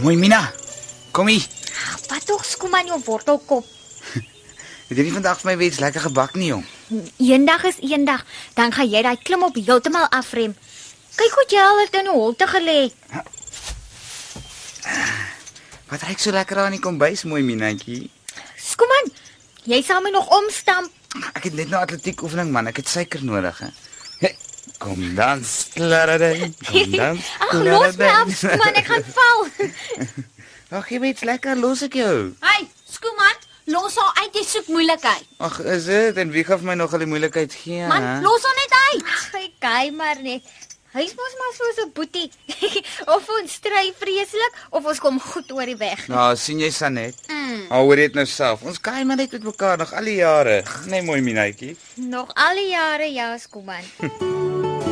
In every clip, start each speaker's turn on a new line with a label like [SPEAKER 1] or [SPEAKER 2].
[SPEAKER 1] Mooi Mina. Kom hier.
[SPEAKER 2] Wat tog skom aan jou wortelkop.
[SPEAKER 1] Het jy nie vandag vir my weer iets lekker gebak nie, jong?
[SPEAKER 2] Eendag is eendag, dan gaan jy daai klim op heeltemal afrem. Kyk hoe jy al het in die holte gelê.
[SPEAKER 1] Wat ryk so lekker aan die kombuis, mooi Minantjie?
[SPEAKER 2] Skom aan. Jy sal my nog omstamp.
[SPEAKER 1] Ek het net nou atletiek oefening man, ek het suiker nodig. Hè. Hey, Kom dan, klaradin. Kom dan.
[SPEAKER 2] Ag, los my af, skom aan, ek gaan val.
[SPEAKER 1] Ag, gee my iets lekker, los ek jou.
[SPEAKER 3] Hey, Skuman, los haar uit, jy soek moeilikheid.
[SPEAKER 1] Ag, is dit? En wie gaan vir my nog al die moeilikheid gee?
[SPEAKER 3] Man,
[SPEAKER 1] hè?
[SPEAKER 3] los haar net uit.
[SPEAKER 2] Ag, hy kyk maar net. Hy's mos maar soos 'n boetie. of ons stry vreeslik of ons kom goed oor die weg.
[SPEAKER 1] Nou, sien jy Sanet?
[SPEAKER 2] Mm.
[SPEAKER 1] Al hoor dit nou self. Ons kyk maar net met mekaar nog al die jare. Nee, mooi Minantjie.
[SPEAKER 2] Nog al die jare ja, skom aan.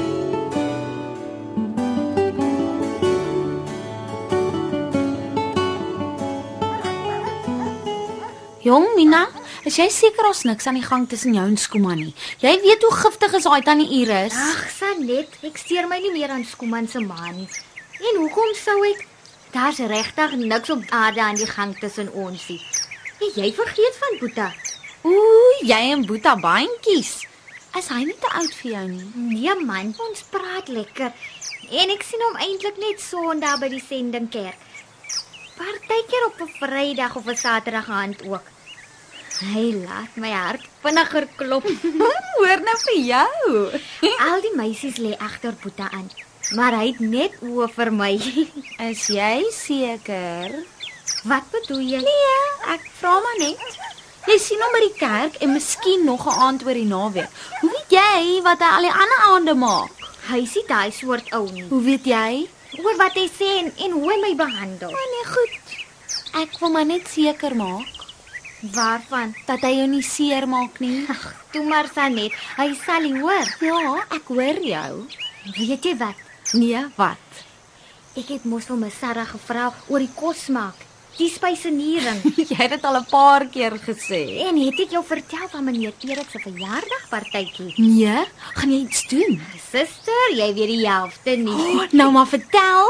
[SPEAKER 3] Jong Mina, is jy seker ons niks aan die gang tussen jou en Skuman nie? Jy weet hoe giftig is daai tannie Iris.
[SPEAKER 2] Ag, Sanet, ek steur my nie meer aan Skuman se ma nie. En hoekom sou ek? Daar's regtig niks op aarde aan die gang tussen ons nie. Het jy vergeet van Boeta?
[SPEAKER 3] Ooh, jy en Boeta bandjies. Is hy nie te oud vir jou nie?
[SPEAKER 2] Nee man, ons praat lekker. En ek sien hom eintlik net Sondag by die sendingkerk. Partykeer op 'n Vrydag of 'n Saterdag aand ook. Hy laat my hart vinniger klop.
[SPEAKER 3] Hoor nou vir jou.
[SPEAKER 2] Al die meisies lê agter Boeta aan, maar hy het net oë vir my.
[SPEAKER 3] Is jy seker?
[SPEAKER 2] Wat bedoel jy?
[SPEAKER 3] Nee, ek vra maar net. Jy sien hom by die kerk en miskien nog 'n aand oor die naweek. Hoe weet jy wat hy al die ander aande maak?
[SPEAKER 2] Hy is nie daai soort ou nie.
[SPEAKER 3] Hoe weet jy?
[SPEAKER 2] Oor wat hy sê en, en hoe hy my behandel.
[SPEAKER 3] Maar nee, goed. Ek wil maar net seker maak
[SPEAKER 2] Waarvan?
[SPEAKER 3] dat hy jou nie seermaak nie.
[SPEAKER 2] Ag, toe maar Sanet, hy sal nie hoor.
[SPEAKER 3] Ja, ek hoor jou.
[SPEAKER 2] Weet jy wat?
[SPEAKER 3] Nee, wat?
[SPEAKER 2] Ek het mos vir my Sarah gevra oor die kos maak, die spysenering.
[SPEAKER 3] jy het dit al 'n paar keer gesê.
[SPEAKER 2] en het ek jou vertel van meneer Erik se verjaardagpartytjie?
[SPEAKER 3] Nee, gaan jy iets doen?
[SPEAKER 2] Suster, jy weet die helfte nie.
[SPEAKER 3] Oh, nou maar vertel.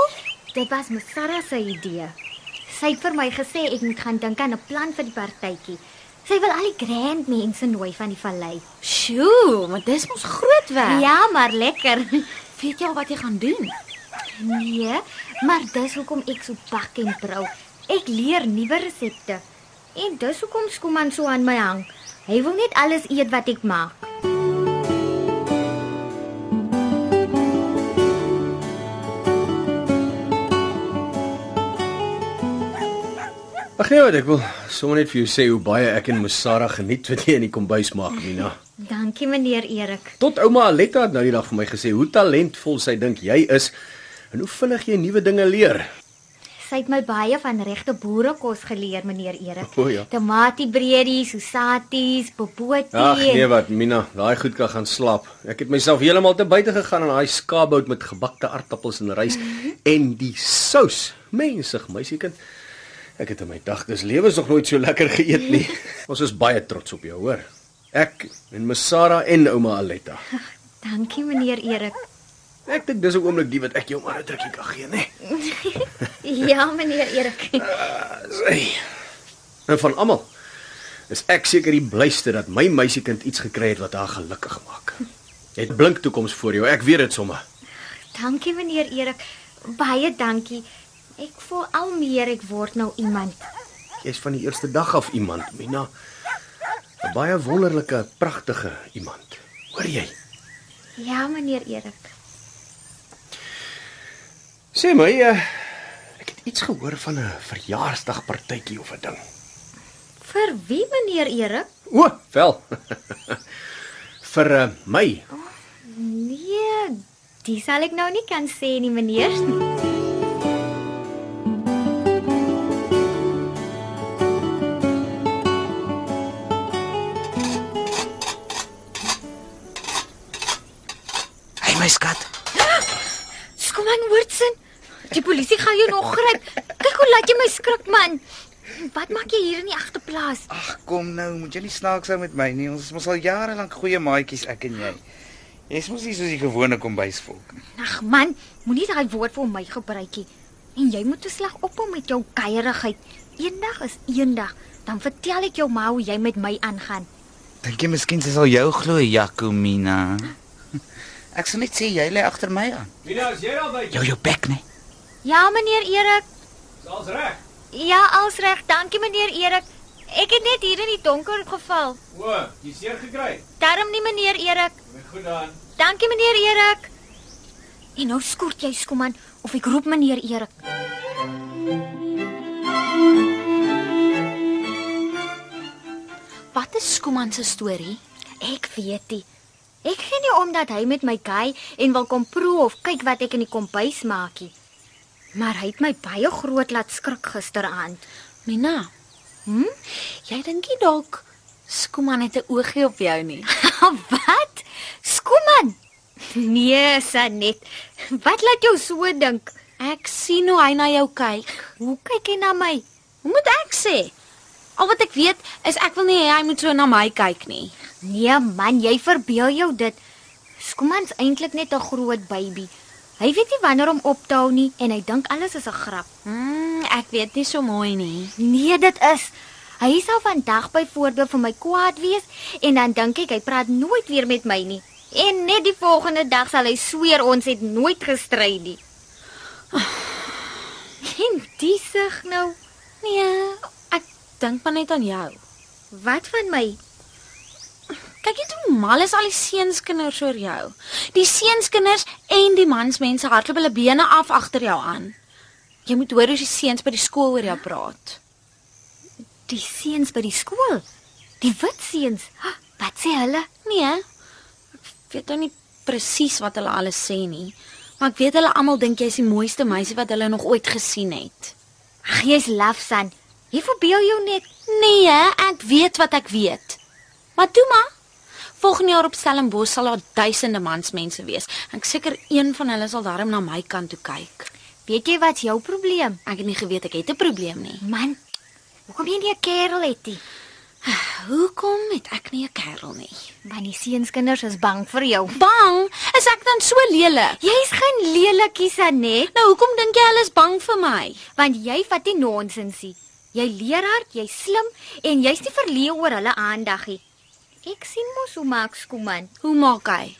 [SPEAKER 2] Dit was my Sarah se idee. Sy het vir my gesê ek moet gaan dink aan 'n plan vir die partytjie. Sy wil al die grand mense nooi van die vallei.
[SPEAKER 3] Sjoe, maar dis mos groot werk.
[SPEAKER 2] Ja, maar lekker.
[SPEAKER 3] weet jy al wat jy gaan doen?
[SPEAKER 2] Nee, maar dis hoekom ek so bak en brou. Ek leer nuwe resepte. En dis hoekom Skuman so aan my hang. Hy wil net alles eet wat ek maak.
[SPEAKER 4] Ag nee, wat ek wil sommer net vir jou sê hoe baie ek en Musara geniet wat jy in die kombuis maak, Mina.
[SPEAKER 2] Dankie meneer Erik.
[SPEAKER 4] Tot ouma Aletta het nou die dag vir my gesê hoe talentvol sy dink jy is en hoe vinnig jy nuwe dinge leer.
[SPEAKER 2] Sy het my baie van regte boerekos geleer, meneer Erik.
[SPEAKER 4] O, ja.
[SPEAKER 2] Tomatiebreedies, sosaties, bobotie.
[SPEAKER 4] Ag nee wat, Mina, daai goed kan gaan slaap. Ek het myself heeltemal te buite gegaan aan daai skaapbout met gebakte aartappels en rys en die sous. Mensig, meisiekind. Ek het in my dagtes lewe nog nooit so lekker geëet nie. Ons is baie trots op jou, hoor. Ek en Musara en ouma Aletta.
[SPEAKER 2] Dankie meneer Erik.
[SPEAKER 4] Ek dink dis 'n oomblik die wat ek jou maar 'n drukkie kan gee, né?
[SPEAKER 2] Ja, meneer Erik.
[SPEAKER 4] Sy. En van almal is ek seker die blyste dat my meisiekind iets gekry het wat haar gelukkig maak. Jy het blink toekoms voor jou. Ek weet dit sommer.
[SPEAKER 2] Dankie meneer Erik. Baie dankie. Ek voel al meer ek word nou iemand.
[SPEAKER 4] Jy's van die eerste dag af iemand, Mina. 'n Baie wonderlike, pragtige iemand. Hoor jy?
[SPEAKER 2] Ja, meneer Erik.
[SPEAKER 4] Sê my, eh, ek het iets gehoor van 'n verjaarsdagpartytjie of 'n ding.
[SPEAKER 2] Vir wie meneer Erik?
[SPEAKER 4] O, wel. Vir uh, my.
[SPEAKER 2] Nee, dis sal ek nou nie kan sê nie meneer.
[SPEAKER 1] Hey my skat.
[SPEAKER 2] Kom aan, Woordsin. Die polisie gaan jou nog gryp. Kyk hoe laat jy my skrik man. Wat maak jy hier in die agterplaas?
[SPEAKER 1] Ag, kom nou, moet jy nie snaaks ou met my nie. Ons is mos al jare lank goeie maatjies ek en jy. Jy's mos nie soos die gewone kombuisvolk nie.
[SPEAKER 2] Ag man, moenie daai woord vir my gebruik nie. En jy moet 'n slag ophou met jou kuierigheid. Eendag is eendag, dan vertel ek jou ma hoe jy met my aangaan.
[SPEAKER 1] Dink jy miskien sy sal jou glo, Jacomina? Ek sal net sê jy lê agter my aan.
[SPEAKER 5] Mina, as jy daar buite,
[SPEAKER 1] Jou jou bek, nee.
[SPEAKER 2] Ja, meneer Erik.
[SPEAKER 5] dis reg.
[SPEAKER 2] Ja, als reg. Dankie meneer Erik. Ek het net hier in die donker geval.
[SPEAKER 5] O, jy seer gekry.
[SPEAKER 2] Darm nie meneer Erik.
[SPEAKER 5] Met goed dan.
[SPEAKER 2] Dankie meneer Erik. En nou skort jy skoman of ek roep meneer Erik.
[SPEAKER 3] Wat is Skuman se storie?
[SPEAKER 2] Ek weet dit. Ek gee nie om dat hy met my guy en wil kom proe of kyk wat ek in die kombuis maakie. Maar hy het my baie groot laat skrik gisteraand.
[SPEAKER 3] Mina,
[SPEAKER 2] Hm?
[SPEAKER 3] jy dink nie dalk Skuman het 'n oogie op jou nie.
[SPEAKER 2] wat? Skoman. Nee, Sanet. Wat laat jou so dink?
[SPEAKER 3] Ek sien hoe hy na jou kyk.
[SPEAKER 2] Hoe kyk jy na my?
[SPEAKER 3] Hoe moet ek sê? Al wat ek weet is ek wil nie hê hy moet so na my kyk nie.
[SPEAKER 2] Nee man, jy verbeel jou dit. Skoman's eintlik net 'n groot baby. Hy weet nie wanneer om op te hou nie en hy dink alles is 'n grap.
[SPEAKER 3] Mm, ek weet nie so mooi nie.
[SPEAKER 2] Nee, dit is. Hy sal vandag byvoorbeeld vir my kwaad wees en dan dink ek hy praat nooit weer met my nie. En net die volgende dag sal hy sweer ons het nooit gestry nie. En dis sig nou.
[SPEAKER 3] Nee, ek dink maar net aan jou.
[SPEAKER 2] Wat van my?
[SPEAKER 3] Kyk net hoe mal is al die seunskinders oor jou. Die seunskinders en die mansmense hardloop hulle bene af agter jou aan. Jy moet hoor hoe die seuns by die skool oor jou praat.
[SPEAKER 2] Die seuns by die skool. Die wit seuns. Wat sê hulle?
[SPEAKER 3] Nee. Ek weet nou nie presies wat hulle alles sê nie, maar ek weet hulle almal dink jy's die mooiste meisie wat hulle nog ooit gesien het. Nou,
[SPEAKER 2] Ag, jy's laf san. Jy verbeel jou net.
[SPEAKER 3] Nee, ek weet wat ek weet. Maar toe maar. Volgende jaar op Stellenbosch sal daar duisende mansmense wees. Ek seker een van hulle sal darm na my kant toe kyk.
[SPEAKER 2] Weet jy wat jou probleem?
[SPEAKER 3] Ek het nie geweet ek het 'n probleem nie.
[SPEAKER 2] Man, hoekom jy nie 'n kerel het nie?
[SPEAKER 3] Hoekom het ek nie 'n kerel nie?
[SPEAKER 2] Want die seunskinders is bang vir jou.
[SPEAKER 3] Bang? Is ek dan so lelik?
[SPEAKER 2] Jy's geen lelikie Sanet,
[SPEAKER 3] Nou hoekom dink jy hulle is bang vir my?
[SPEAKER 2] want jy vat nie nonsensie. Jy leer hard, jy's slim en jy's nie verleë oor hulle aandagie. Ek sien mos hoe maak Skuman.
[SPEAKER 3] Hoe maak hy?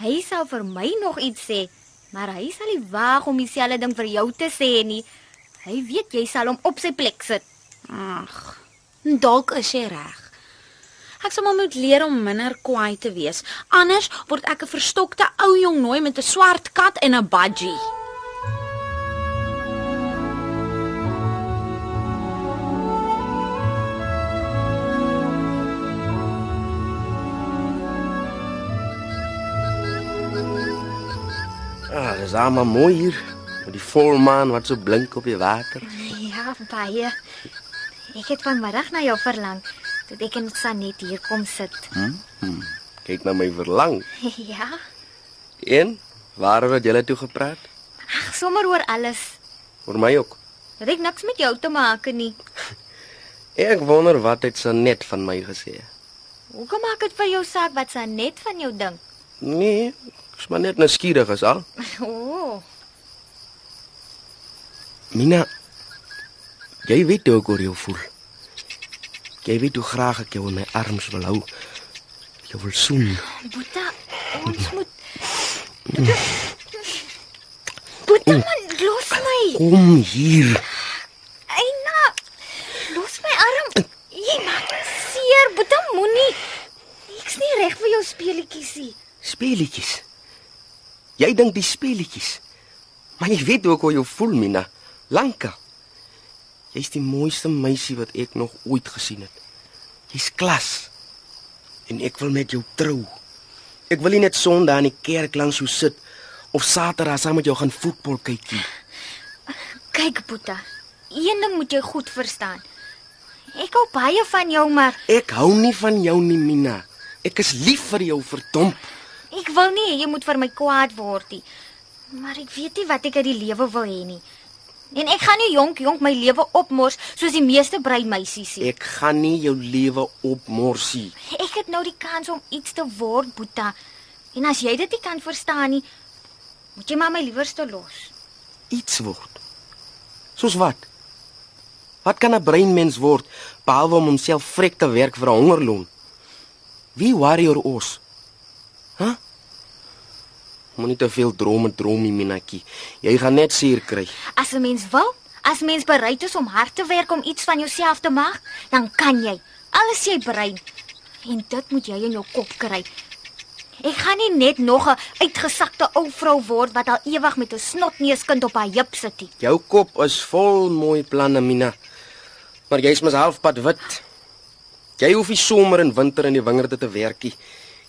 [SPEAKER 2] Hy sal vir my nog iets sê, maar hy sal nie waag om dieselfde ding vir jou te sê nie. Hy weet jy sal hom op sy plek sit.
[SPEAKER 3] Ag, dalk is jy reg. Ek sal maar moet leer om minder kwaai te wees. Anders word ek 'n verstokte ou jong nooi met 'n swart kat en 'n budgie.
[SPEAKER 4] Ah, dis almal mooi hier. Met die volmaan wat so blink op die water.
[SPEAKER 2] Ja, baie. Ek het vanmiddag na jou verlang toe ek en Sanet hier kom sit.
[SPEAKER 4] Kyk na my verlang.
[SPEAKER 2] ja,
[SPEAKER 4] En waaroor het julle toe gepraat?
[SPEAKER 2] ag sommer oor alles.
[SPEAKER 4] Oor my ook.
[SPEAKER 2] Dit het niks met jou te maak nie.
[SPEAKER 4] Ek wonder wat het Sanet van my gesê.
[SPEAKER 2] Hoekom maak dit vir jou saak wat Sanet van jou dink?
[SPEAKER 4] Nee, ek's maar net nuuskierig is al.
[SPEAKER 2] O, oh,
[SPEAKER 4] Mina, jy weet hoe ek oor jou voel. Jy weet hoe graag ek jou in my arms wil hou. Jou wil soen.
[SPEAKER 2] Boeta, ons moet Boeta, man, los my.
[SPEAKER 4] Kom hier.
[SPEAKER 2] Eina, los my arm. Jy maak my seer, Boeta, moenie. Ek's nie reg vir jou speletjies nie.
[SPEAKER 4] Speletjies. Jy dink die speletjies. Maar jy weet hoe ek oor jou voel, Mina. Lanka. Jy's die mooiste meisie wat ek nog ooit gesien het. Jy's klas. En ek wil met jou trou. Ek wil nie net Sondag in die kerk langs jou sit of Saterdag saam met jou gaan voetbal kyk nie.
[SPEAKER 2] Kyk, Boeta, een ding moet jy goed verstaan. Ek hou baie van jou, maar
[SPEAKER 4] Ek hou nie van jou nie, Mina. Ek is lief vir jou, verdomp.
[SPEAKER 2] ek wil nie hê jy moet vir my kwaad word nie. Maar ek weet nie wat ek uit die lewe wil hê nie. En ek gaan nie jonk jonk my lewe opmors soos die meeste breimeisies nie.
[SPEAKER 4] Ek gaan nie jou lewe opmorsie.
[SPEAKER 2] Ek het nou die kans om iets te word, Boeta. En as jy dit nie kan verstaan nie, moet jy maar my liewerste los.
[SPEAKER 4] Iets word. Soos wat? Wat kan 'n breinmens word behalwe om homself vrek te werk vir 'n hongerloon? Wie warrior ons? Hæ? Huh? Moenie te veel drome droom nie, Minakie. Jy gaan net seer kry.
[SPEAKER 2] As 'n mens wil, as mens bereid is om hard te werk om iets van jouself te maak, dan kan jy. Alles jy brein. En dit moet jy in jou kop kry. Ek gaan nie net nog 'n uitgesakte ou vrou word wat al ewig met 'n snotneuskind op haar heup sit nie.
[SPEAKER 4] Jou kop is vol mooi planne, Mina. Maar jy's mos halfpad wit. Jy hoef nie somer en winter in die wingerde te werk nie.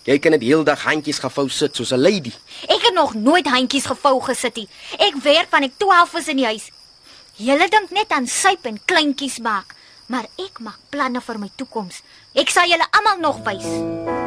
[SPEAKER 4] Jy kan dit heeldag handjies gevou sit soos 'n lady.
[SPEAKER 2] Ek het nog nooit handjies gevou gesit nie. Ek werk van ek 12 is in die huis. Julle dink net aan suip en kleintjies maak, maar ek maak planne vir my toekoms. Ek sal julle almal nog wys.